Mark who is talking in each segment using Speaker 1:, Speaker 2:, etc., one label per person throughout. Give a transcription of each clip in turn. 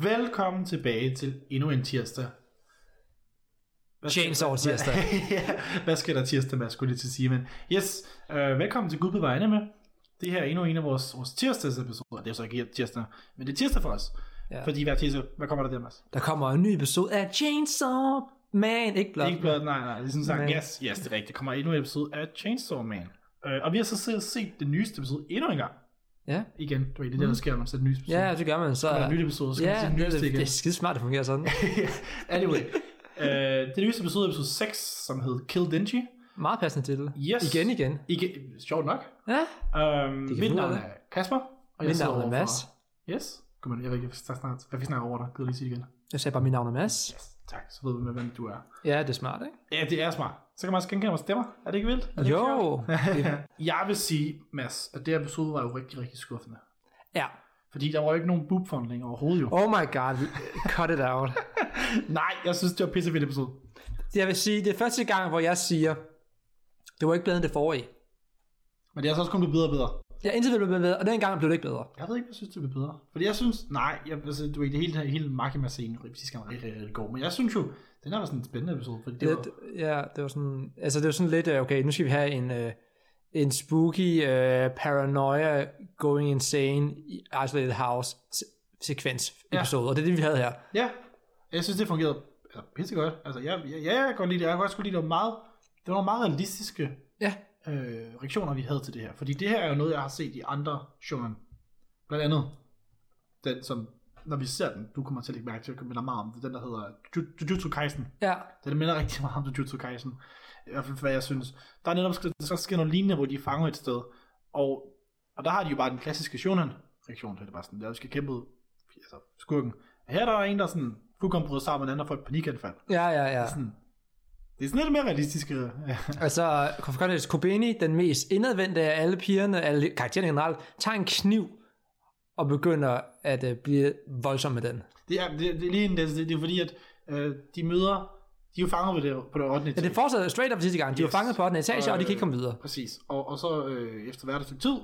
Speaker 1: Velkommen tilbage til endnu en tirsdag. Hvad sker
Speaker 2: James
Speaker 1: der-
Speaker 2: over tirsdag.
Speaker 1: ja, hvad sker der tirsdag, man skulle jeg lige til at sige. Men yes, øh, velkommen til Gud på vegne med. Det her er endnu en af vores, vores tirsdagsepisoder. Det er jo så ikke helt tirsdag, men det er tirsdag for os.
Speaker 2: Ja.
Speaker 1: Ja. Fordi hver tirsdag, hvad kommer der der, Mads?
Speaker 2: Der kommer en ny episode af Chainsaw Man, ikke blot.
Speaker 1: Ikke blot, nej, nej, det er sådan sagt,
Speaker 2: Men-
Speaker 1: yes, yes, det er rigtigt. Der kommer endnu en episode af Chainsaw Man. Øh, og vi har så set, set den nyeste episode endnu en gang.
Speaker 2: Ja. Mm.
Speaker 1: Igen, du ved, det er det, der sker, når man ser den nyeste episode.
Speaker 2: ja, det gør man så.
Speaker 1: Kommer der en ny episode, så skal man
Speaker 2: ja,
Speaker 1: se den
Speaker 2: det,
Speaker 1: nyeste
Speaker 2: det,
Speaker 1: igen.
Speaker 2: det er skide smart, det fungerer sådan.
Speaker 1: anyway, øh, det nyeste episode er episode 6, som hed Kill Denji.
Speaker 2: Meget passende titel.
Speaker 1: Yes.
Speaker 2: Igen, igen.
Speaker 1: Ikke, sjovt nok.
Speaker 2: Ja.
Speaker 1: Øhm,
Speaker 2: kan
Speaker 1: mit
Speaker 2: finde
Speaker 1: navn
Speaker 2: ud af
Speaker 1: er Kasper. Og
Speaker 2: Mit
Speaker 1: sidder
Speaker 2: navn er
Speaker 1: overfor-
Speaker 2: Mads.
Speaker 1: Yes. Godmorgen, jeg ved ikke, hvad jeg snart, hvad vi snakker over dig. Gider lige sige det igen.
Speaker 2: Jeg sagde bare, mit navn er Mads.
Speaker 1: Yes, tak. Så ved vi, hvem du er.
Speaker 2: Ja, det er smart, ikke?
Speaker 1: Ja, det er smart. Så kan man også genkende vores stemmer. Er det ikke vildt? Er det
Speaker 2: Jo.
Speaker 1: ikke sjovt? jeg vil sige, Mads, at det her episode var jo rigtig, rigtig skuffende.
Speaker 2: Ja.
Speaker 1: Fordi der var jo ikke nogen boobfundling overhovedet jo. Oh.
Speaker 2: Oh my god, cut it out.
Speaker 1: Nej, jeg synes, det var pissefedt episode.
Speaker 2: Jeg vil sige, det er første gang, hvor jeg siger, det var ikke bedre end det forrige.
Speaker 1: Men det er så også kommet bedre og bedre.
Speaker 2: Jeg indtil det blev bedre, og dengang blev det ikke bedre.
Speaker 1: Jeg ved ikke, om jeg synes, det bliver bedre. Fordi jeg synes, nej, jeg, altså, du ved, det hele, hele Makima-scenen, det skal rigtig, rigtig, rigtig god. Men jeg synes jo, den her var sådan en spændende episode, fordi det, var,
Speaker 2: Lidt, ja, det var sådan, altså det var sådan lidt, øh, okay, nu skal vi have en, øh, en spooky øh, paranoia going insane i isolated house se- sekvens
Speaker 1: Ja.
Speaker 2: episode, og det er det, vi havde her.
Speaker 1: ja, jeg synes, det fungerede altså, pisse godt. Altså, jeg, jeg, jeg, jeg kan godt lide det. Jeg kan også lide, det var meget, det var meget realistiske
Speaker 2: Ja,
Speaker 1: øh, reaktioner, vi havde til det her. Fordi det her er jo noget, jeg har set i andre shonen. Blandt andet den, som når vi ser den, du kommer til at lægge mærke til, at minder meget om det, den der hedder Ju- Jujutsu Kaisen.
Speaker 2: ja,
Speaker 1: Den minder rigtig meget om Jujutsu Kaisen. I hvert fald, hvad jeg synes. Der er netop sk- så sker noget lignende, hvor de fanger et sted. Og, og der har de jo bare den klassiske shonen-reaktion. så Det er bare sådan, der skal kæmpe altså, skurken. Og her er der en, der sådan fuldkommen bryder sammen, og den anden der får et panikanfald.
Speaker 2: ja, ja, ja.
Speaker 1: Sådan, det er sådan lidt mere realistiske.
Speaker 2: Altså, Konfrontatis Kobeni, den mest indadvendte af alle pigerne, alle karaktererne generelt, tager en kniv og begynder at øh, blive voldsom med den.
Speaker 1: det, er, det, det, er lige en, det, det er fordi, at øh, de møder, de er jo fanger på det, på det 8.
Speaker 2: Ja, det fortsatte straight up sidste gang. De var
Speaker 1: Yes.
Speaker 2: fanget på 8. etage,
Speaker 1: Og,
Speaker 2: og de kan ikke
Speaker 1: øh,
Speaker 2: komme videre.
Speaker 1: Præcis. Og, og så øh, efter hvert stykke tid,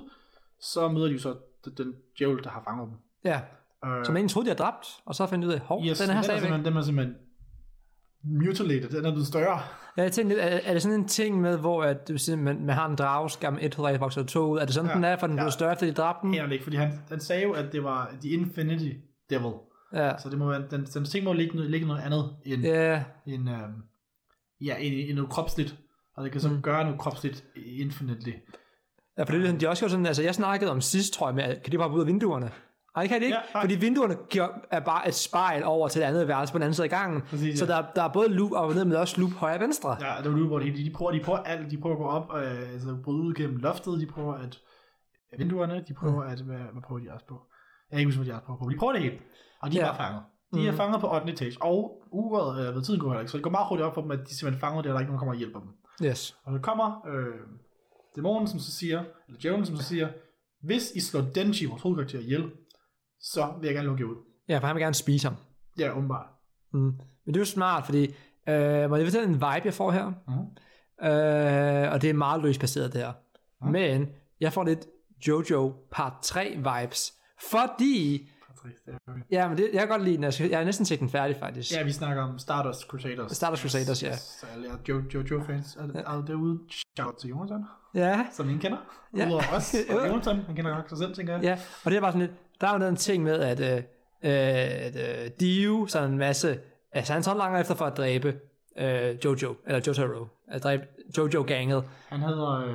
Speaker 1: så møder de jo så den, den djævel, der har fanget dem.
Speaker 2: Ja,
Speaker 1: Øh,
Speaker 2: som egentlig troede, de havde dræbt, og så fandt de ud af, hov,
Speaker 1: Yes,
Speaker 2: den er her stadigvæk.
Speaker 1: simpelthen, den er simpelthen mutilated, den er blevet større.
Speaker 2: Ja, jeg tænkte lidt, er, er det sådan en ting med, hvor at, det vil sige, man, man har en drage, skal man et hoved vokser to ud? Er det sådan,
Speaker 1: Ja.
Speaker 2: ja. den er, for den
Speaker 1: Ja.
Speaker 2: blev større, efter de dræbte den?
Speaker 1: Aner det ikke, fordi han, han sagde jo, at det var The Infinity Devil.
Speaker 2: Ja.
Speaker 1: Så det må være, den, den ting må ligge, noget- ligge noget andet end, yeah.
Speaker 2: ja.
Speaker 1: end, øhm, ja, end, end noget kropsligt. Og det kan så mm. gøre noget kropsligt infinitely.
Speaker 2: ja, for det er ligesom, de også gjorde sådan, altså jeg snakkede om sidst, tror jeg, med, at kan de bare gå ud af vinduerne? Nej, det kan de ikke,
Speaker 1: Ja,
Speaker 2: ja,
Speaker 1: nej.
Speaker 2: fordi vinduerne giver, er bare et spejl over til det andet værelse på den anden side af gangen.
Speaker 1: Præcis,
Speaker 2: så
Speaker 1: ja.
Speaker 2: der, der er både loop op og ned, men også loop højre og venstre. Ja.
Speaker 1: Ja, det var lige, hvor det hele, de prøver, de prøver alt, de prøver at gå op, øh, altså bryde ud gennem loftet, de prøver at vinduerne, de prøver at, hvad, hvad prøver de også på? Jeg kan ikke huske, hvad de også prøver på, men de prøver det hele, og de er
Speaker 2: Ja.
Speaker 1: bare fanget. De er
Speaker 2: Mhm.
Speaker 1: fanget på 8. etage, og uret, øh, ved tiden går heller ikke, så det går meget hurtigt op for dem, at de simpelthen fanger det, og der er ikke nogen, der kommer og hjælper dem.
Speaker 2: Yes.
Speaker 1: Og der kommer øh, dæmonen, som så siger, eller djævlen, som så siger, hvis I slår Denji, vores hovedkarakter, ihjel, så vil jeg gerne lukke jer ud.
Speaker 2: Ja, for han vil gerne spise ham.
Speaker 1: Ja, åbenbart.
Speaker 2: Mm. Men det er jo smart, fordi øh, må jeg fortælle en vibe, jeg får her?
Speaker 1: Mhm.
Speaker 2: Øh, og det er meget løst baseret det her.
Speaker 1: Mhm.
Speaker 2: Men jeg får lidt Jojo part 3 vibes, fordi...
Speaker 1: Trist, ja, okay.
Speaker 2: Ja, men det, jeg kan godt lide den. Jeg, skal, jeg er næsten set den færdig, faktisk.
Speaker 1: Ja, vi snakker om Stardust Crusaders.
Speaker 2: Stardust Crusaders, ja.
Speaker 1: Så alle jer jo, jo, jo fans er, er derude. Shout out til Jonathan,
Speaker 2: ja.
Speaker 1: som ingen kender.
Speaker 2: Ja.
Speaker 1: Ja. Udover os.
Speaker 2: Jo.
Speaker 1: Og Jonathan, han kender nok sig selv, tænker jeg.
Speaker 2: ja. Og det er bare sådan lidt... Der er jo den ting med, at, øh, øh, at øh, Dio, sådan en masse... Altså, han så langer efter for at dræbe øh, Jojo, eller Jotaro. At dræbe Jojo-ganget.
Speaker 1: Han hedder... Øh,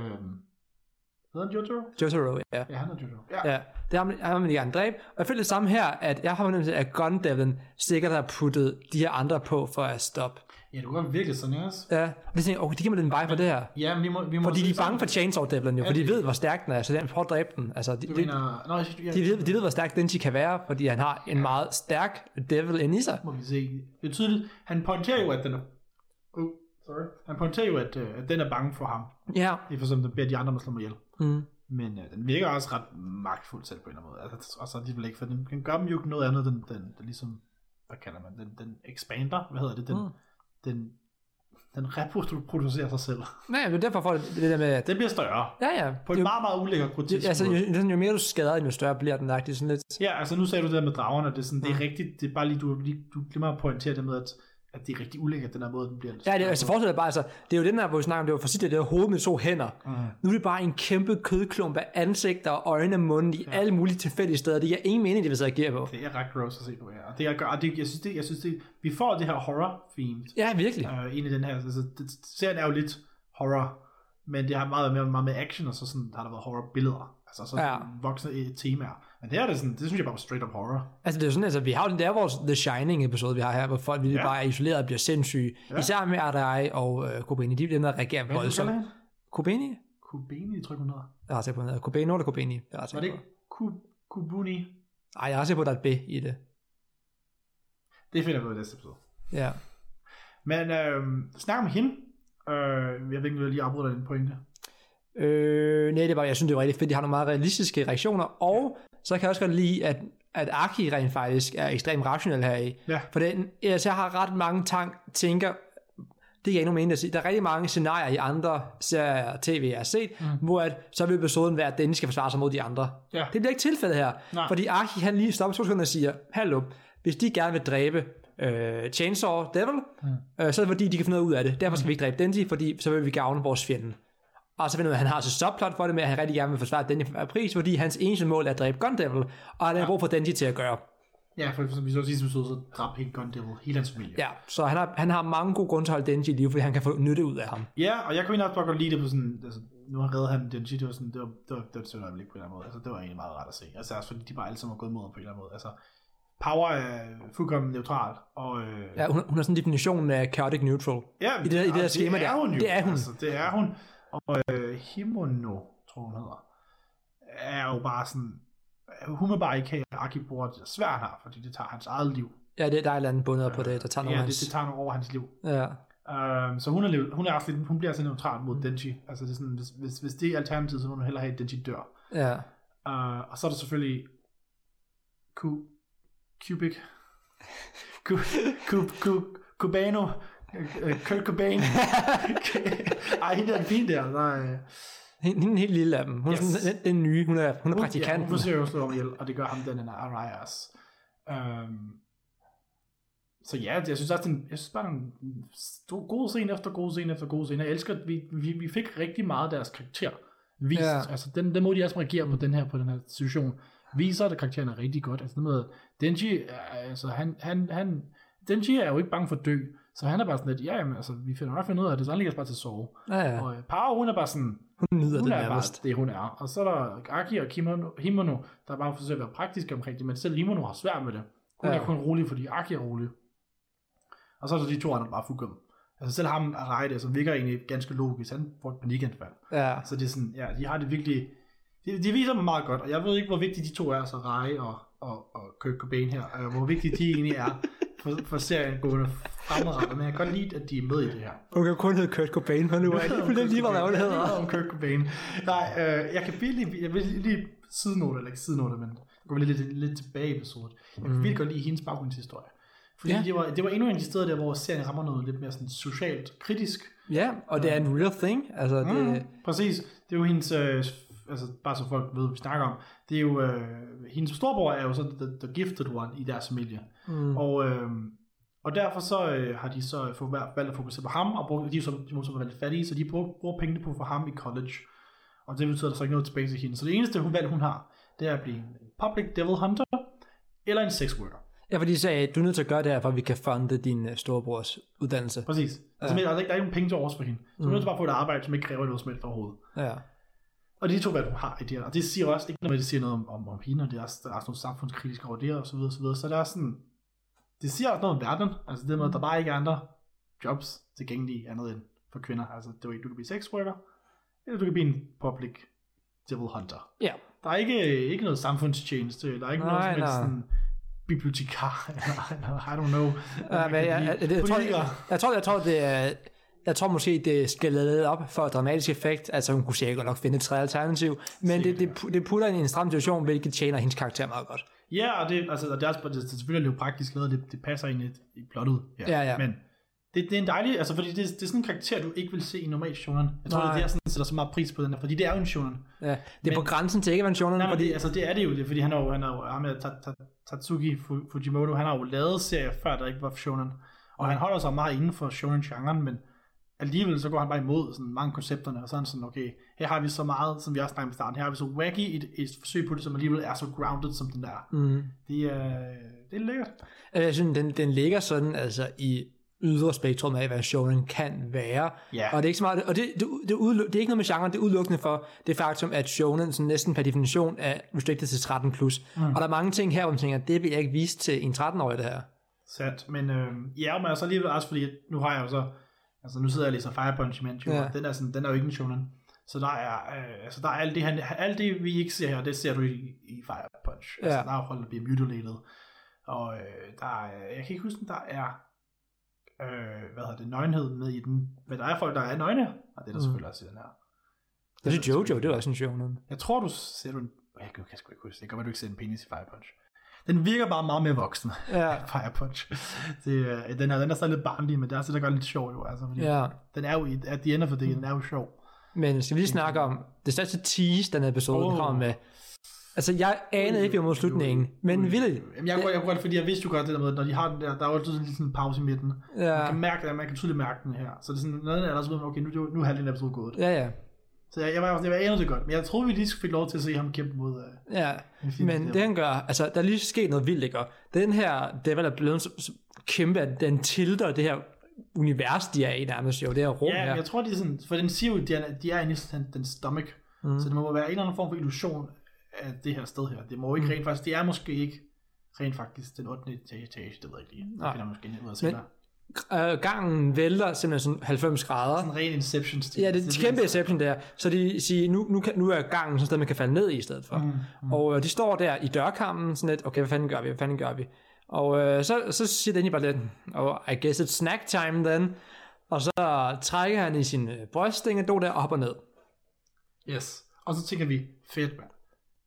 Speaker 1: hedder han Jojo?
Speaker 2: Jotaro, ja.
Speaker 1: Ja, han er Jojo. Ja. ja.
Speaker 2: Ja, det har man, har man gerne dræbt. Og jeg føler det samme her, at jeg har fornemmelse af, at Gun Devlin sikkert har puttet de her andre på for at stoppe.
Speaker 1: ja du kan virkelig sådan, yes.
Speaker 2: Ja, og det tænker jeg, okay, de giver mig den vej for det her.
Speaker 1: Ja, men vi må... Vi må
Speaker 2: Fordi de er bange for Chainsaw Devlin jo, for de ved, hvor stærk den er, så den prøver at dræbe den. Altså, de,
Speaker 1: Du
Speaker 2: de,
Speaker 1: mener... Nå, jeg, jeg,
Speaker 2: de, ved, de ved, hvor stærk Denji kan være, fordi han har en meget stærk devil inde i sig.
Speaker 1: må vi se. Det er tydeligt. Han pointerer jo, at den er... Oh, sorry. Han pointerer jo, at, øh, at den er bange for ham.
Speaker 2: Ja,
Speaker 1: Lige for som den beder de andre om at slå mig ihjel.
Speaker 2: mm,
Speaker 1: Men øh, den virker også ret magtfuld selv på en eller anden måde. Altså, og så alligevel ikke, for den, den gør dem jo ikke noget andet, den, den, den ligesom, hvad kalder man, den, den expander, hvad hedder det, den,
Speaker 2: Mm.
Speaker 1: mm. den, Den reproducerer sig selv.
Speaker 2: Nej, det er derfor, for det, det der med, at...
Speaker 1: Den bliver større.
Speaker 2: Ja, ja.
Speaker 1: På en
Speaker 2: jo,
Speaker 1: meget, meget ulækker grotesk
Speaker 2: altså,
Speaker 1: måde.
Speaker 2: jo, sådan, jo, mere du skader den, jo større bliver den. Det er sådan lidt...
Speaker 1: Ja, altså nu sagde du det der med dragerne, det er, sådan, det
Speaker 2: Mm.
Speaker 1: er rigtigt, det er bare lige, du, lige, du glemmer at pointere det med, at, at det er rigtig ulækkert, den her måde, den bliver.
Speaker 2: Ja, det, altså forestil dig bare, altså, det er jo den der, hvor vi snakker om, det var for sit, det der hoved med to hænder. Mm. Nu er det bare en kæmpe kødklump af ansigter og øjne og munden i alle mulige tilfældige steder. Det giver ingen mening, det vil sidde og agere på.
Speaker 1: Det er ret gross at se på her. Og det, jeg, gør, og det, jeg synes, det, jeg synes det, vi får det her horror themed
Speaker 2: Ja, virkelig.
Speaker 1: øh, ind i den her. Altså, det, serien er jo lidt horror, men det har meget mere meget med action, og så sådan, har der været horror billeder. Altså så
Speaker 2: Ja.
Speaker 1: ja. voksne øh, temaer. Men det her er det sådan, det synes jeg bare var straight up horror.
Speaker 2: Altså det er jo sådan, altså vi har jo den der vores The Shining episode, vi har her, hvor folk vi ja.
Speaker 1: Ja.
Speaker 2: bare er isoleret og bliver sindssyge. Ja. Især med RDI og øh, Kobeni, de er dem, der reagerer
Speaker 1: Hvad er det, du
Speaker 2: voldsomt.
Speaker 1: kalder hende?
Speaker 2: Kobeni?
Speaker 1: Kubeni, tror jeg, hun hedder.
Speaker 2: Jeg har set på, den hedder. Kobeni eller Kobeni? Jeg har set
Speaker 1: Var det
Speaker 2: på.
Speaker 1: ikke Ku- Kubuni?
Speaker 2: Ej, jeg har set på, der er et B i det.
Speaker 1: Det finder vi ud af i næste episode.
Speaker 2: Ja.
Speaker 1: Men øh, snak om hende. Øh, jeg ved ikke, om jeg lige afbryder din pointe.
Speaker 2: Øh, nej, det var, jeg synes, det var rigtig fedt. De har nogle meget realistiske reaktioner, og så kan jeg også godt lide, at, at Aki rent faktisk er ekstremt rationel her i.
Speaker 1: Ja.
Speaker 2: For den, altså, jeg har ret mange tank, tænker, det kan jeg ikke mening at sige. Der er rigtig mange scenarier i andre serier og tv, jeg har set, mm. hvor at, så vil episoden være, at den skal forsvare sig mod de andre.
Speaker 1: Ja.
Speaker 2: Det bliver ikke tilfældet her,
Speaker 1: Nej.
Speaker 2: fordi Aki han lige stopper to sekunder og siger, hallo, hvis de gerne vil dræbe øh, Chainsaw Devil, mm. øh, så er det fordi, de kan finde noget ud af det. Derfor skal vi ikke dræbe Denji, fordi så vil vi gavne vores fjende. Og så finder man, at han har så subplot for det med, at han rigtig gerne vil forsvare Denji for pris, fordi hans eneste mål er at dræbe Gun Devil, og han har brug for Denji til at gøre.
Speaker 1: Ja, for som vi så sidste episode, så dræbte hele Gun Devil, hele hans familie.
Speaker 2: Ja, så han har, han har mange gode grunde til at holde Denji i live, fordi han kan få nytte ud af ham.
Speaker 1: ja og jeg kunne egentlig også bare godt lide det på sådan, altså, nu har reddet han den shit, det var sådan, det var, det var, det var et sødt øjeblik på en eller anden måde. Altså, det var egentlig meget rart at se. Altså, også fordi de bare alle sammen har gået mod ham på en eller anden måde. Altså, Power er fuldkommen neutral, og øh,
Speaker 2: Ja, hun, hun er sådan definitionen af chaotic neutral.
Speaker 1: ja,
Speaker 2: i det- i det der
Speaker 1: altså,
Speaker 2: schema
Speaker 1: det er
Speaker 2: der.
Speaker 1: Hun jo.
Speaker 2: Det er hun.
Speaker 1: Altså, det er hun. Og øh, Himono, tror hun hedder, er jo bare sådan, hun vil bare ikke have, at Aki bruger det svært han har, fordi det tager hans eget liv.
Speaker 2: Ja, det er der er et eller andet bundet på det, der tager nogle
Speaker 1: Ja,
Speaker 2: af
Speaker 1: det, det
Speaker 2: hans...
Speaker 1: tager nogle over hans liv.
Speaker 2: Ja.
Speaker 1: Um, så hun, er, lev- hun, er også lidt, hun bliver altså neutral mod Denji. Altså det er sådan, hvis, hvis, hvis det er alternativet, så må hun hellere have, at Denji dør.
Speaker 2: Ja.
Speaker 1: Uh, og så er der selvfølgelig Ku, Kubik, Ku, Ku, Ku, Kubano, Øh, Kurt Cobain. Ej, hende er en fin der. øh, Nej.
Speaker 2: Hende, hende er helt lille af dem. Hun yes. er
Speaker 1: Yes.
Speaker 2: sådan, den, den nye, hun er, hun er
Speaker 1: Ja,
Speaker 2: praktikant.
Speaker 1: hun forsøger jo at slå ham ihjel, og det gør ham den en Araya også. Um, så ja, det- jeg synes også, det er en, jeg synes bare, det er en stor, god scene efter god scene efter god scene. Jeg elsker, at vi, vi, vi fik rigtig meget af deres karakter vist.
Speaker 2: Ja.
Speaker 1: Ja. Altså, den, den måde, de også reagerer på den her, på den her situation, viser, at karakteren er rigtig godt. Altså, det med, Denji, er- altså, han, han, han, Denji er jo ikke bange for at dø, så han er bare sådan lidt, ja, jamen, altså, vi finder nok finde ud af det, så han ligger bare til at sove.
Speaker 2: Ja, ja.
Speaker 1: Ja. Og øh, Paro, hun er bare sådan,
Speaker 2: Hun nyder
Speaker 1: hun
Speaker 2: det
Speaker 1: det er
Speaker 2: nærmest.
Speaker 1: bare det, hun er. Og så er der Aki og Kimono, Himono, der bare forsøger at være praktiske omkring det, men selv Himono har svært med det. Hun
Speaker 2: Ja.
Speaker 1: ja. er kun rolig, fordi Aki er rolig. Og så er der de to andre, der bare fuldkommen. Altså selv ham og Rejde, som virker egentlig ganske logisk, han får et panikanfald.
Speaker 2: Ja.
Speaker 1: Så det er sådan, ja, de har det virkelig, de, de viser dem meget godt, og jeg ved ikke, hvor vigtige de to er, så Rai og, og, og Kurt Cobain her, øh, hvor vigtige de egentlig er for, for serien gående fremadrettet, men jeg kan godt lide, at de er med i det her.
Speaker 2: Hun kan kun hedde Kurt Cobain, for nu er jeg lige fuldstændig lige, hvad hun hedder.
Speaker 1: om Kurt Cobain. Nej, øh, jeg kan virkelig, jeg vil lige sidenote, eller ikke sidenote, men går vi lidt, lidt tilbage i episoden. Jeg kan virkelig godt lide hendes baggrundshistorie. Fordi
Speaker 2: Mm. Ja.
Speaker 1: ja. det, var, det var endnu en af de steder der, hvor serien rammer noget lidt mere sådan socialt kritisk.
Speaker 2: Ja, og det er en real thing. Altså, det,
Speaker 1: Mm. Præcis. Det er jo hendes, øh, altså bare så folk ved, hvad vi snakker om. Det er jo, øh, hendes storbror er jo så the, the gifted one i deres familie.
Speaker 2: mm,
Speaker 1: Og, øh, og derfor så øh, har de så fået valgt- valgt at fokusere på ham, og brugt, de er jo så, de må så være lidt fattige, så de bruger, bruger pengene på for ham i college. Og det betyder, at der så ikke er noget tilbage til hende. Så det eneste hun valg, hun har, det er at blive en public devil hunter, eller en sex worker.
Speaker 2: ja, fordi de sagde, du er nødt til at gøre det her, for at vi kan funde din øh, storebrors uddannelse.
Speaker 1: Præcis. Altså, ja. der, er ikke, der er ikke nogen penge til overs for hende. Så hun er nødt til bare at få et arbejde, som ikke kræver noget som helst overhovedet.
Speaker 2: Ja.
Speaker 1: Og det er de to valg, hun har i det her. Og det siger også ikke noget, med, det siger noget om, om, om hende, og det er også, der er også nogle samfundskritiske over det, og så videre, og så videre. Så der er sådan, det siger også noget om verden. Altså det med, at der bare ikke er andre jobs tilgængelige andet end for kvinder. Altså det var ikke, du kan blive sexworker, eller du kan blive en public devil hunter.
Speaker 2: Ja.
Speaker 1: Der er ikke, ikke noget samfundstjeneste, der er ikke
Speaker 2: Nej,
Speaker 1: noget som helst
Speaker 2: nej.
Speaker 1: sådan bibliotekar, eller, eller I don't know.
Speaker 2: Ja, men jeg, jeg, jeg, jeg, tror,
Speaker 1: Politiker.
Speaker 2: jeg, jeg, tror, jeg tror, det er... Jeg tror måske, det skal lade lidt op for dramatisk effekt. Altså, hun kunne sikkert nok finde et tredje alternativ. Men det, det, pu- det putter hende i en stram situation, hvilket tjener hendes karakter meget godt.
Speaker 1: Ja, og det, altså, og det, er, også- det er selvfølgelig lidt praktisk lavet, det, det passer ind i, i plottet.
Speaker 2: Ja, ja.
Speaker 1: Men det Det, det er en dejlig, altså fordi det, det er sådan en karakter, du ikke vil se i normal shonen. Jeg tror,
Speaker 2: Nej.
Speaker 1: det er der, sådan, sætter så meget pris på den her, fordi det er jo en shonen.
Speaker 2: Ja, det er men, på grænsen til ikke at være en shonen,
Speaker 1: Nej, men
Speaker 2: fordi
Speaker 1: det, altså, det er det jo, det, er fordi han er jo, han er jo ham er Ta- Ta- Tatsuki Fu- Fujimoto, han har jo lavet serier før, der ikke var shonen. Og han holder sig meget inden for shonen-genren, men alligevel så går han bare imod sådan mange af koncepterne, og så er han sådan, okay, her har vi så meget, som vi også snakkede om i starten, her har vi så wacky et, et forsøg på det, som alligevel er så grounded som den der.
Speaker 2: mm,
Speaker 1: Det er, det er lækkert.
Speaker 2: altså, jeg synes, den, den ligger sådan altså i ydre spektrum af, hvad shonen kan være.
Speaker 1: Ja.
Speaker 2: Og det er ikke så meget, og det, det, det, udlu, det er ikke noget med genren, det er udelukkende for det faktum, at shonen sådan næsten per definition er restricted til 13+. Plus. Mm. Og der er mange ting her, hvor man tænker, det vil jeg ikke vise til en 13-årig, det her.
Speaker 1: Sandt, men øh, ja, men så alligevel også, fordi nu har jeg jo så, altså nu sidder jeg og læser Fire Punch Image, jo,
Speaker 2: Ja.
Speaker 1: ja. den, er sådan, den er jo ikke en shonen. Så der er, øh, altså der er alt det, han, alt det, vi ikke ser her, det ser du i, i Fire Punch. Ja.
Speaker 2: Ja.
Speaker 1: Altså, der er jo folk, der bliver mutilated, og øh, der er, jeg kan ikke huske, om der er, øh, hvad hedder det, nøgenhed med i den, men der er folk, der er nøgne, og det er der mm. selvfølgelig også i den her.
Speaker 2: Jeg synes,
Speaker 1: er
Speaker 2: Jojo, det er også en shonen.
Speaker 1: Jeg tror, du ser du en, jeg kan sgu ikke huske, det kan du ikke se en penis i Fire Punch. Den virker bare meget mere voksen.
Speaker 2: Ja,
Speaker 1: Fire Punch. Det, øh, den her, den er så lidt barnlig, men det er så der gør lidt sjov jo. Altså, fordi
Speaker 2: ja.
Speaker 1: Den er jo, i- at the end of the day, den er jo sjov.
Speaker 2: Men skal vi lige snakke om det største tease, den her episode oh.
Speaker 1: Åh.
Speaker 2: kommer med. Altså, jeg anede ikke, vi var mod slutningen, men vildt.
Speaker 1: Jamen, jeg, kunne, jeg kunne godt, fordi jeg vidste jo godt det der med, når de har den der, der er jo altid sådan lige sådan en pause i midten. Man
Speaker 2: Ja,
Speaker 1: kan mærke det, man kan tydeligt mærke den her. Så det er sådan, noget der er der så ved man, okay, nu, nu er halvdelen af episode gået.
Speaker 2: ja, ja.
Speaker 1: Så jeg, jeg, var, jeg var anede det godt, men jeg troede, vi lige fik lov til at se ham kæmpe mod... Øh,
Speaker 2: Ja,
Speaker 1: fint,
Speaker 2: men
Speaker 1: det
Speaker 2: det han gør, altså der er lige sket noget vildt, ikke? Og den her Devil er blevet så, så kæmpe, at den tilter det her univers, de er i nærmest jo, det her rum
Speaker 1: ja,
Speaker 2: her.
Speaker 1: men jeg tror, de er sådan, for den siger jo, de er, de er inde i sådan, den stomach. Mm. Så det må være en eller anden form for illusion af det her sted her. Det må jo
Speaker 2: Mm.
Speaker 1: ikke rent faktisk, det er måske ikke rent faktisk den 8. etage, etage det ved jeg ikke lige.
Speaker 2: Nej.
Speaker 1: Det finder jeg måske ud af senere.
Speaker 2: Øh, gangen vælter simpelthen sådan 90 grader.
Speaker 1: Sådan en ren inception Altså, stil.
Speaker 2: Ja, det er et kæmpe exception der. Så de siger, nu, nu, kan, nu er gangen sådan et sted, man kan falde ned i i stedet for. Mm, mm. Og øh, de står der i dørkammen, sådan lidt, okay, hvad fanden gør vi, hvad fanden gør vi? Og øh, så, så siger Danny bare lidt, oh, I guess it's snack time then. Og så trækker han i sin øh, bryststængedå der og hopper ned.
Speaker 1: Yes. Og så tænker vi, fedt mand.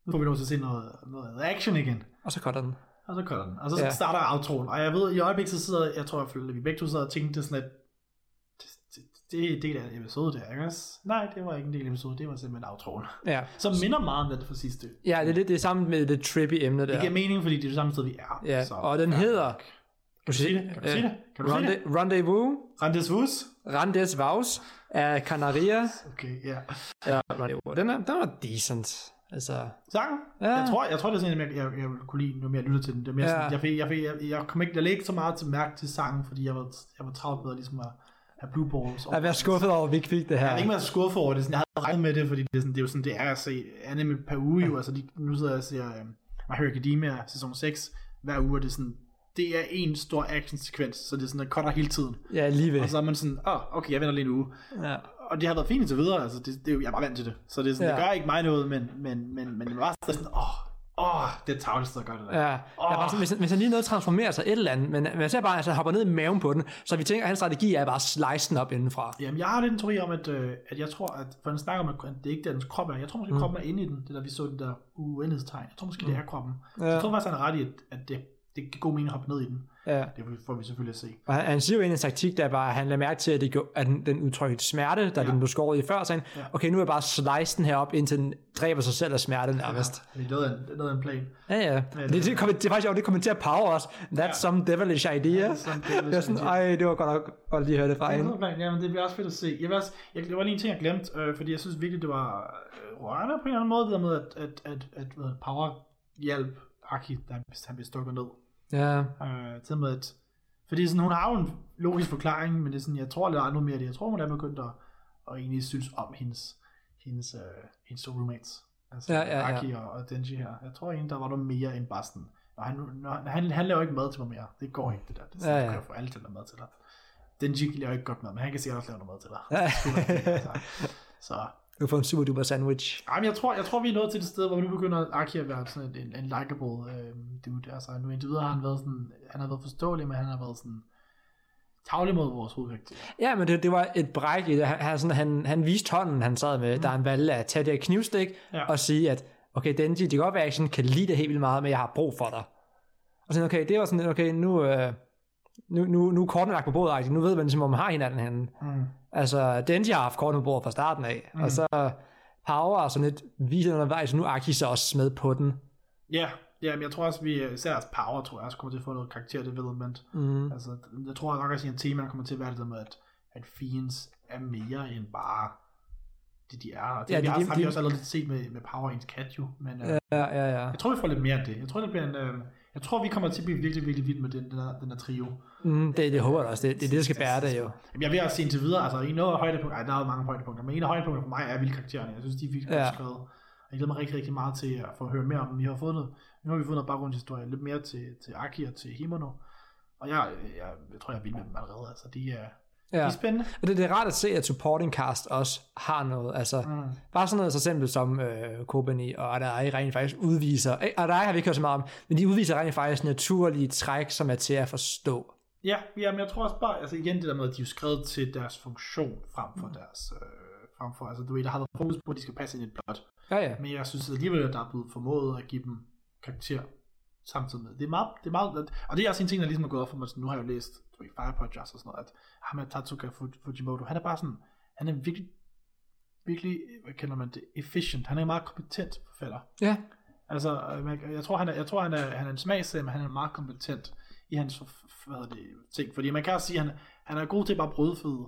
Speaker 1: Nu får vi lov til at se noget, noget action igen.
Speaker 2: Og så cutter den.
Speaker 1: Og så kører den. Og så
Speaker 2: Ja.
Speaker 1: ja. starter outroen. Og jeg ved, i øjeblikket så sidder, jeg tror, jeg føler, at vi begge to sidder og tænkte det er sådan, at det, det, det er en del af episode der, ikke også? Nej, det var ikke en del af episode, det var simpelthen outroen.
Speaker 2: Ja.
Speaker 1: Som minder meget om den fra sidste. Det
Speaker 2: ja, det er lidt det samme med det trippy emne der.
Speaker 1: giver mening, fordi det er det samme sted, vi er.
Speaker 2: Ja,
Speaker 1: så,
Speaker 2: og den hedder... Kan
Speaker 1: du sige det? Kan du sige det? Kan du sige det?
Speaker 2: Rendezvous,
Speaker 1: Rendezvous?
Speaker 2: Randes Vaus af Canaria.
Speaker 1: Okay, ja.
Speaker 2: Ja, Rendezvous. Den, er, den var decent. Altså,
Speaker 1: Sangen?
Speaker 2: Ja.
Speaker 1: Ja. Jeg, tror, jeg tror, det er sådan, jeg, jeg, jeg ville kunne lide, når jeg lyttede til den. Det er mere
Speaker 2: Ja.
Speaker 1: ja. sådan, jeg, fik, jeg, fik, jeg, jeg, kom ikke, jeg lagde ikke så meget til mærke til sangen, fordi jeg var, jeg var travlt bedre ligesom at have blue balls.
Speaker 2: at være skuffet over, at vi ikke fik det her.
Speaker 1: Jeg er ikke mere skuffet over det. Sådan, jeg havde regnet med det, fordi det er, sådan, det er jo sådan, det er at se anime per uge. Jo. Altså, de, nu sidder jeg og ser øh, My Hero Academia sæson 6 hver uge, og det er sådan, det er en stor actionsekvens, så det er sådan, der cutter hele tiden.
Speaker 2: Ja, lige ved.
Speaker 1: Og så er man sådan, åh, oh, okay, jeg venter lige en uge.
Speaker 2: Ja.
Speaker 1: Og det har været fint til videre, altså det, det, er jo- jeg er bare vant til det. Så det, er sådan,
Speaker 2: Ja.
Speaker 1: det gør ikke mig noget, men, men, men, men det var stadig sådan, åh, åh, det er tavligt at gøre det der.
Speaker 2: Ja, oh. bare sådan, hvis, hvis han lige noget transformerer sig et eller andet, men man ser bare, at han hopper ned i maven på den, så vi tænker, at hans strategi er bare at slice den op indenfra.
Speaker 1: Jamen, jeg har lidt en teori om, at, øh, at jeg tror, at for den snakker om, at det ikke er dens krop er. Jeg tror måske, mm. kroppen er inde i den, det der, vi så den der uendelighedstegn. Jeg tror måske, det er kroppen. Ja.
Speaker 2: Mm. Ja.
Speaker 1: Jeg tror faktisk, han er ret i, at, at det, det giver god mening at hoppe ned i den.
Speaker 2: Ja.
Speaker 1: Det får vi selvfølgelig at se.
Speaker 2: Og han, han siger jo en taktik, der bare, at han lader mærke til, at, det gjorde, at den, den udtrykte smerte, da ja. den blev skåret i før, så han, ja. okay, nu er jeg bare slice den her op, indtil den dræber sig selv af smerte nærmest.
Speaker 1: Det er noget af en, det er noget af en plan.
Speaker 2: Ja, ja. Det, det, kom, det er faktisk jo, det kommenterer Power også. That's ja. some devilish idea.
Speaker 1: er some devilish
Speaker 2: det er sådan,
Speaker 1: idea.
Speaker 2: ej, det var godt nok godt lige at høre det fra
Speaker 1: Det er
Speaker 2: hende.
Speaker 1: noget af en plan. Jamen, det bliver også fedt at se. Jeg vil også, jeg, det var lige en ting, jeg glemte, øh, fordi jeg synes virkelig, det var øh, rørende på en eller anden måde, det der med, at, at, at, at, at power hjælp Aki, da han, han bliver stukket ned.
Speaker 2: Ja.
Speaker 1: Øh, til med at, fordi sådan, hun har jo en logisk forklaring, men det er sådan, jeg tror lidt andet mere af det. Jeg tror, hun er begyndt at, at egentlig synes om hendes, hendes, øh, hendes to roommates. Altså
Speaker 2: Ja, ja, ja.
Speaker 1: Aki og, og Denji her. Jeg tror egentlig, der var noget mere end bare sådan, og han, når, han, han laver ikke mad til mig mere. Det går ikke, det der. Det er sådan,
Speaker 2: Ja,
Speaker 1: ja,
Speaker 2: ja.
Speaker 1: ja. kan jo få alle til at lave mad til dig. Denji laver ikke godt mad, men han kan sikkert også lave noget mad til dig.
Speaker 2: Ja.
Speaker 1: Ja. Så
Speaker 2: Du får en super duper sandwich.
Speaker 1: Jamen, jeg tror, jeg tror, vi er nået til det sted, hvor nu begynder Aki at være sådan en, en likable øh, dude. Altså, nu indtil videre har han været sådan, han har været forståelig, men han har været sådan tavlig mod vores hovedkarakter.
Speaker 2: Ja, men det, det var et bræk i det. Han, han, sådan, han, han viste hånden, han sad med, mm. da han valgte at tage det her knivstik ja.
Speaker 1: Ja.
Speaker 2: og sige, at okay, Denji, det kan godt være, at jeg sådan kan lide det helt vildt meget, men jeg har brug for dig. Og sådan, okay, det var sådan, lidt, okay, nu, øh, nu, nu, nu er kortene lagt på bordet, agtigt. nu ved man ligesom, om man har hinanden henne.
Speaker 1: Mm.
Speaker 2: Altså, Denji har haft kortene på bordet fra starten af, mm. og så Power og sådan lidt viser undervejs, nu er Aki så også med på den.
Speaker 1: Ja, ja, men jeg tror også, vi øh, især også Power, tror jeg også kommer til at få noget karakter development.
Speaker 2: Mm.
Speaker 1: Altså, jeg tror nok også, at en tema kommer til at være det der med, at, at fiends er mere end bare det, de er. Og det
Speaker 2: Ja,
Speaker 1: ja, de,
Speaker 2: de-
Speaker 1: har,
Speaker 2: de-
Speaker 1: har vi
Speaker 2: de-
Speaker 1: også allerede lidt set med, med Power Rangers Cat jo, men øh,
Speaker 2: Ja, ja, ja.
Speaker 1: jeg tror, vi får lidt mere af det. Jeg tror, det bliver en, øh, jeg tror, vi kommer til at blive virkelig, virkelig vild med den, den, her, den her trio.
Speaker 2: Mm, det, det håber jeg da også. Det, det er det, der skal bære det jo.
Speaker 1: Jamen, jeg vil også se indtil videre, altså en af højdepunkter, ej, der er jo mange højdepunkter, men en af højdepunkterne for mig er vilde karaktererne. Jeg synes, de er vildt
Speaker 2: Ja.
Speaker 1: godt skrevet. Og jeg glæder mig rigtig, rigtig meget til at få at høre mere om dem. Vi har fået noget, nu har vi fået noget baggrundshistorie, lidt mere til, til Aki og til Himono. Og jeg, jeg, jeg tror, jeg er vild med dem allerede. Altså, de er, de
Speaker 2: Ja.
Speaker 1: er spændende.
Speaker 2: Og det, det er rart at se, at supporting cast også har noget. Altså, mm. Bare sådan noget så simpelt som øh, Kobani og Adai rent faktisk udviser. Eh, Adai har vi ikke hørt så meget om, men de udviser rent faktisk naturlige træk, som er til at forstå.
Speaker 1: Ja, ja, men jeg tror også bare, altså igen det der med, at de er jo skrevet til deres funktion frem
Speaker 2: Mm.
Speaker 1: for deres, øh, frem for, altså du ved, der har været fokus på, at de skal passe ind i et blot.
Speaker 2: Ja, ja.
Speaker 1: Men jeg synes alligevel, at der er blevet formået at give dem karakter samtidig med. Det er meget, det er meget og det er også en ting, der ligesom er gået op for mig, sådan, nu har jeg jo læst du ved, Fire Podcast og sådan noget, at ham her Tatsuka Fu- Fujimoto, han er bare sådan, han er virkelig, virkelig, hvad kalder man det, efficient. Han er en meget kompetent forfatter.
Speaker 2: Ja,
Speaker 1: Altså, øh, man- jeg tror, han er, jeg tror, han er, han er en smagssag, men han er meget kompetent i hans hvad hedder det, ting. Fordi man kan også sige, at han, han er god til bare at brødføde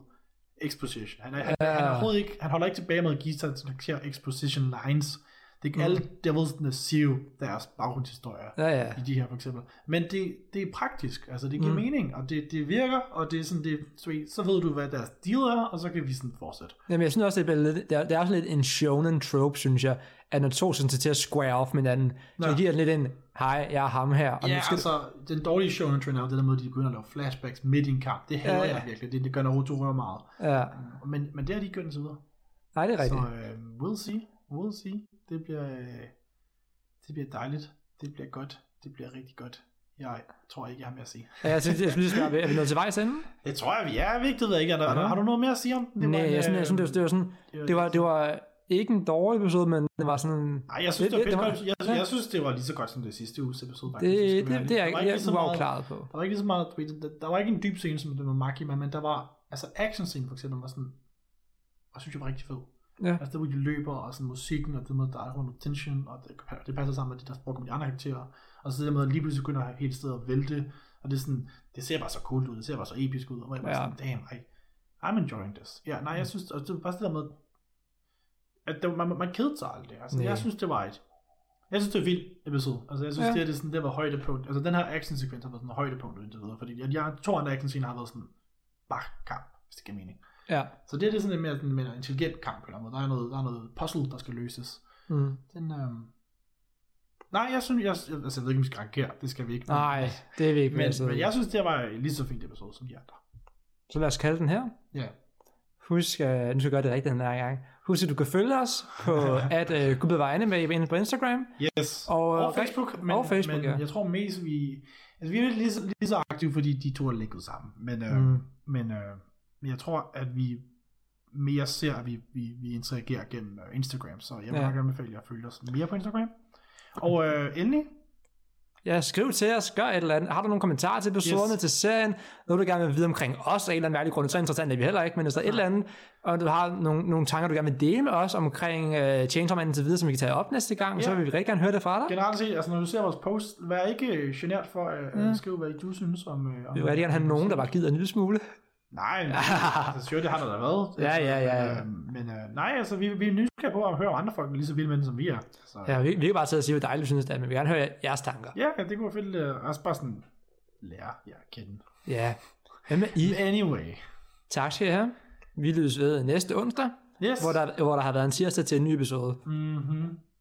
Speaker 1: exposition. Han, er, han,
Speaker 2: Ja.
Speaker 1: han, er overhovedet ikke, han holder ikke tilbage med at give sig til karakter exposition lines. Det er ikke
Speaker 2: Mm.
Speaker 1: alle devilsene siger jo deres baggrundshistorier
Speaker 2: ja, ja.
Speaker 1: i de her for eksempel. Men det, det er praktisk, altså det giver
Speaker 2: Mm.
Speaker 1: mm. mening, og det, det virker, og det er sådan, det, så, så ved du, hvad deres deal er, og så kan vi sådan fortsætte.
Speaker 2: Jamen, jeg synes også, det er, blevet lidt, det er, det er også lidt en shonen trope, synes jeg, at når to sådan set til at square off med hinanden, så
Speaker 1: Ja.
Speaker 2: giver det lidt en, hej, jeg er ham her, og
Speaker 1: Ja,
Speaker 2: nu skal
Speaker 1: skal...
Speaker 2: du-
Speaker 1: altså, den dårlige shonen trend er jo det der med, at de begynder at lave flashbacks midt i en kamp. Det hader
Speaker 2: Ja,
Speaker 1: ja,
Speaker 2: ja.
Speaker 1: ja. jeg virkelig. Det, det gør Naruto rører meget.
Speaker 2: ja.
Speaker 1: Men, men det har de gjort indtil videre.
Speaker 2: Nej, det er
Speaker 1: Så
Speaker 2: rigtigt.
Speaker 1: øh, we'll see. We'll see. Det bliver, øh, det bliver dejligt. Det bliver godt. Det bliver rigtig godt. Jeg tror ikke, jeg har mere at sige.
Speaker 2: Ja, jeg synes, jeg synes, er vi, er vi nået til vejs ende?
Speaker 1: Det tror jeg, vi er. Vigtigt, ved jeg ikke. Er der,
Speaker 2: Ja.
Speaker 1: ja. har du noget mere at sige om den? øh,
Speaker 2: Nej, jeg synes, jeg synes, det var, det var sådan, det var, det var ikke en dårlig episode, men det var sådan...
Speaker 1: Nej, jeg synes, det,
Speaker 2: det-
Speaker 1: var
Speaker 2: det
Speaker 1: pænt
Speaker 2: var-
Speaker 1: godt. Jeg,
Speaker 2: ja.
Speaker 1: jeg, synes, det var lige så godt som det sidste uges episode. faktisk. skal
Speaker 2: Det,
Speaker 1: vi være ærlige.
Speaker 2: det, det er
Speaker 1: Der
Speaker 2: ikke,
Speaker 1: var
Speaker 2: jeg
Speaker 1: lige så
Speaker 2: er
Speaker 1: meget-
Speaker 2: uafklaret på.
Speaker 1: Der var ikke lige så meget, du ved, der, der var ikke en dyb scene, som det var Makima, men der var, altså actionscenen for eksempel var sådan, og synes jeg var rigtig fed.
Speaker 2: Ja.
Speaker 1: Altså der hvor de løber, og sådan musikken, og det med, der er under tension, og det, det passer sammen med det, der sprog om de andre karakterer. Og så det der med, at lige pludselig begynder hele stedet at vælte, og det er sådan, det ser bare så cool ud, det ser bare så episk ud, og hvor jeg bare
Speaker 2: Ja. Mm.
Speaker 1: sådan, damn, I, I'm enjoying this. Ja, nej, jeg synes, og det var bare sådan det der med, at det, man, man kedede sig aldrig. Altså,
Speaker 2: Nej.
Speaker 1: jeg synes, det var et jeg synes, det er vildt episode. Altså, jeg synes,
Speaker 2: Ja.
Speaker 1: ja. det, her, det, er sådan, det var højdepunkt. Altså, den her actionsekvens har været sådan en højdepunkt indtil videre, fordi jeg, jeg tror, at actionscenen har været sådan bare kamp, hvis det giver mening.
Speaker 2: Ja.
Speaker 1: Så det, her, det er sådan lidt mere sådan, en mere intelligent kamp, eller noget. Der er noget, der er noget puzzle, der skal løses.
Speaker 2: Mm.
Speaker 1: Den, øhm... Nej, jeg synes, jeg, altså, jeg ved ikke, om vi skal rangere. Det skal vi ikke. Men-
Speaker 2: Nej, Altså- det er vi ikke
Speaker 1: men,
Speaker 2: med, så-
Speaker 1: men, jeg synes, det var en lige så fint episode, som de andre.
Speaker 2: Så lad os kalde den her.
Speaker 1: Ja.
Speaker 2: Husk, øh, nu skal jeg gøre det rigtigt den her gang. Husk, at du kan følge os på at øh, Gud bevarer anime inde på Instagram.
Speaker 1: Yes.
Speaker 2: Og,
Speaker 1: Og,
Speaker 2: øh,
Speaker 1: og Facebook, men,
Speaker 2: og Facebook,
Speaker 1: men
Speaker 2: ja.
Speaker 1: jeg tror mest, vi... Altså, vi er lidt lige, så- lige så aktive, fordi de to er linket sammen. Men, øh,
Speaker 2: Mm.
Speaker 1: mm. men, øh, men jeg tror, at vi mere ser, at vi, vi, vi interagerer gennem øh, Instagram. Så jeg vil
Speaker 2: Ja.
Speaker 1: ja. meget gerne anbefale jer at følge os mere på Instagram. Og øh, endelig,
Speaker 2: Ja, skriv til os, gør et eller andet. Har du nogle kommentarer til episoderne, yes.
Speaker 1: Yes.
Speaker 2: til serien? Noget, du gerne vil vide omkring os, af en eller anden mærkelig grund. Så interessant er vi heller ikke, men hvis der er et eller andet, og du har nogle, nogle tanker, du gerne vil dele med os omkring øh, Chainsaw Man til videre, som vi kan tage op næste gang, så
Speaker 1: Ja.
Speaker 2: vil vi rigtig gerne høre det fra dig.
Speaker 1: generelt set, altså når du ser vores post, vær ikke øh, genert for at øh,
Speaker 2: Ja.
Speaker 1: skrive, hvad du synes om... Øh, om
Speaker 2: Vi vil rigtig gerne have nogen, der bare gider en lille smule.
Speaker 1: Nej, nej, altså, sure, det har der da været.
Speaker 2: Ja,
Speaker 1: Altså,
Speaker 2: ja, ja, ja.
Speaker 1: Men, øh, men øh, nej, altså, vi, vi er nysgerrige på at høre, om andre folk er lige så vilde med den, som vi er. Så,
Speaker 2: Ja, vi, vi kan bare sidde og sige, hvor dejligt vi synes det er, men vi vil gerne høre jeres tanker.
Speaker 1: Ja, ja, det kunne være fedt uh, også bare sådan lære jer at kende.
Speaker 2: Ja. Hvem er I?
Speaker 1: Anyway.
Speaker 2: Tak skal I have. Vi lydes ved næste onsdag,
Speaker 1: Yes.
Speaker 2: hvor der, hvor der har været en tirsdag til en ny episode.
Speaker 1: Mm-hmm.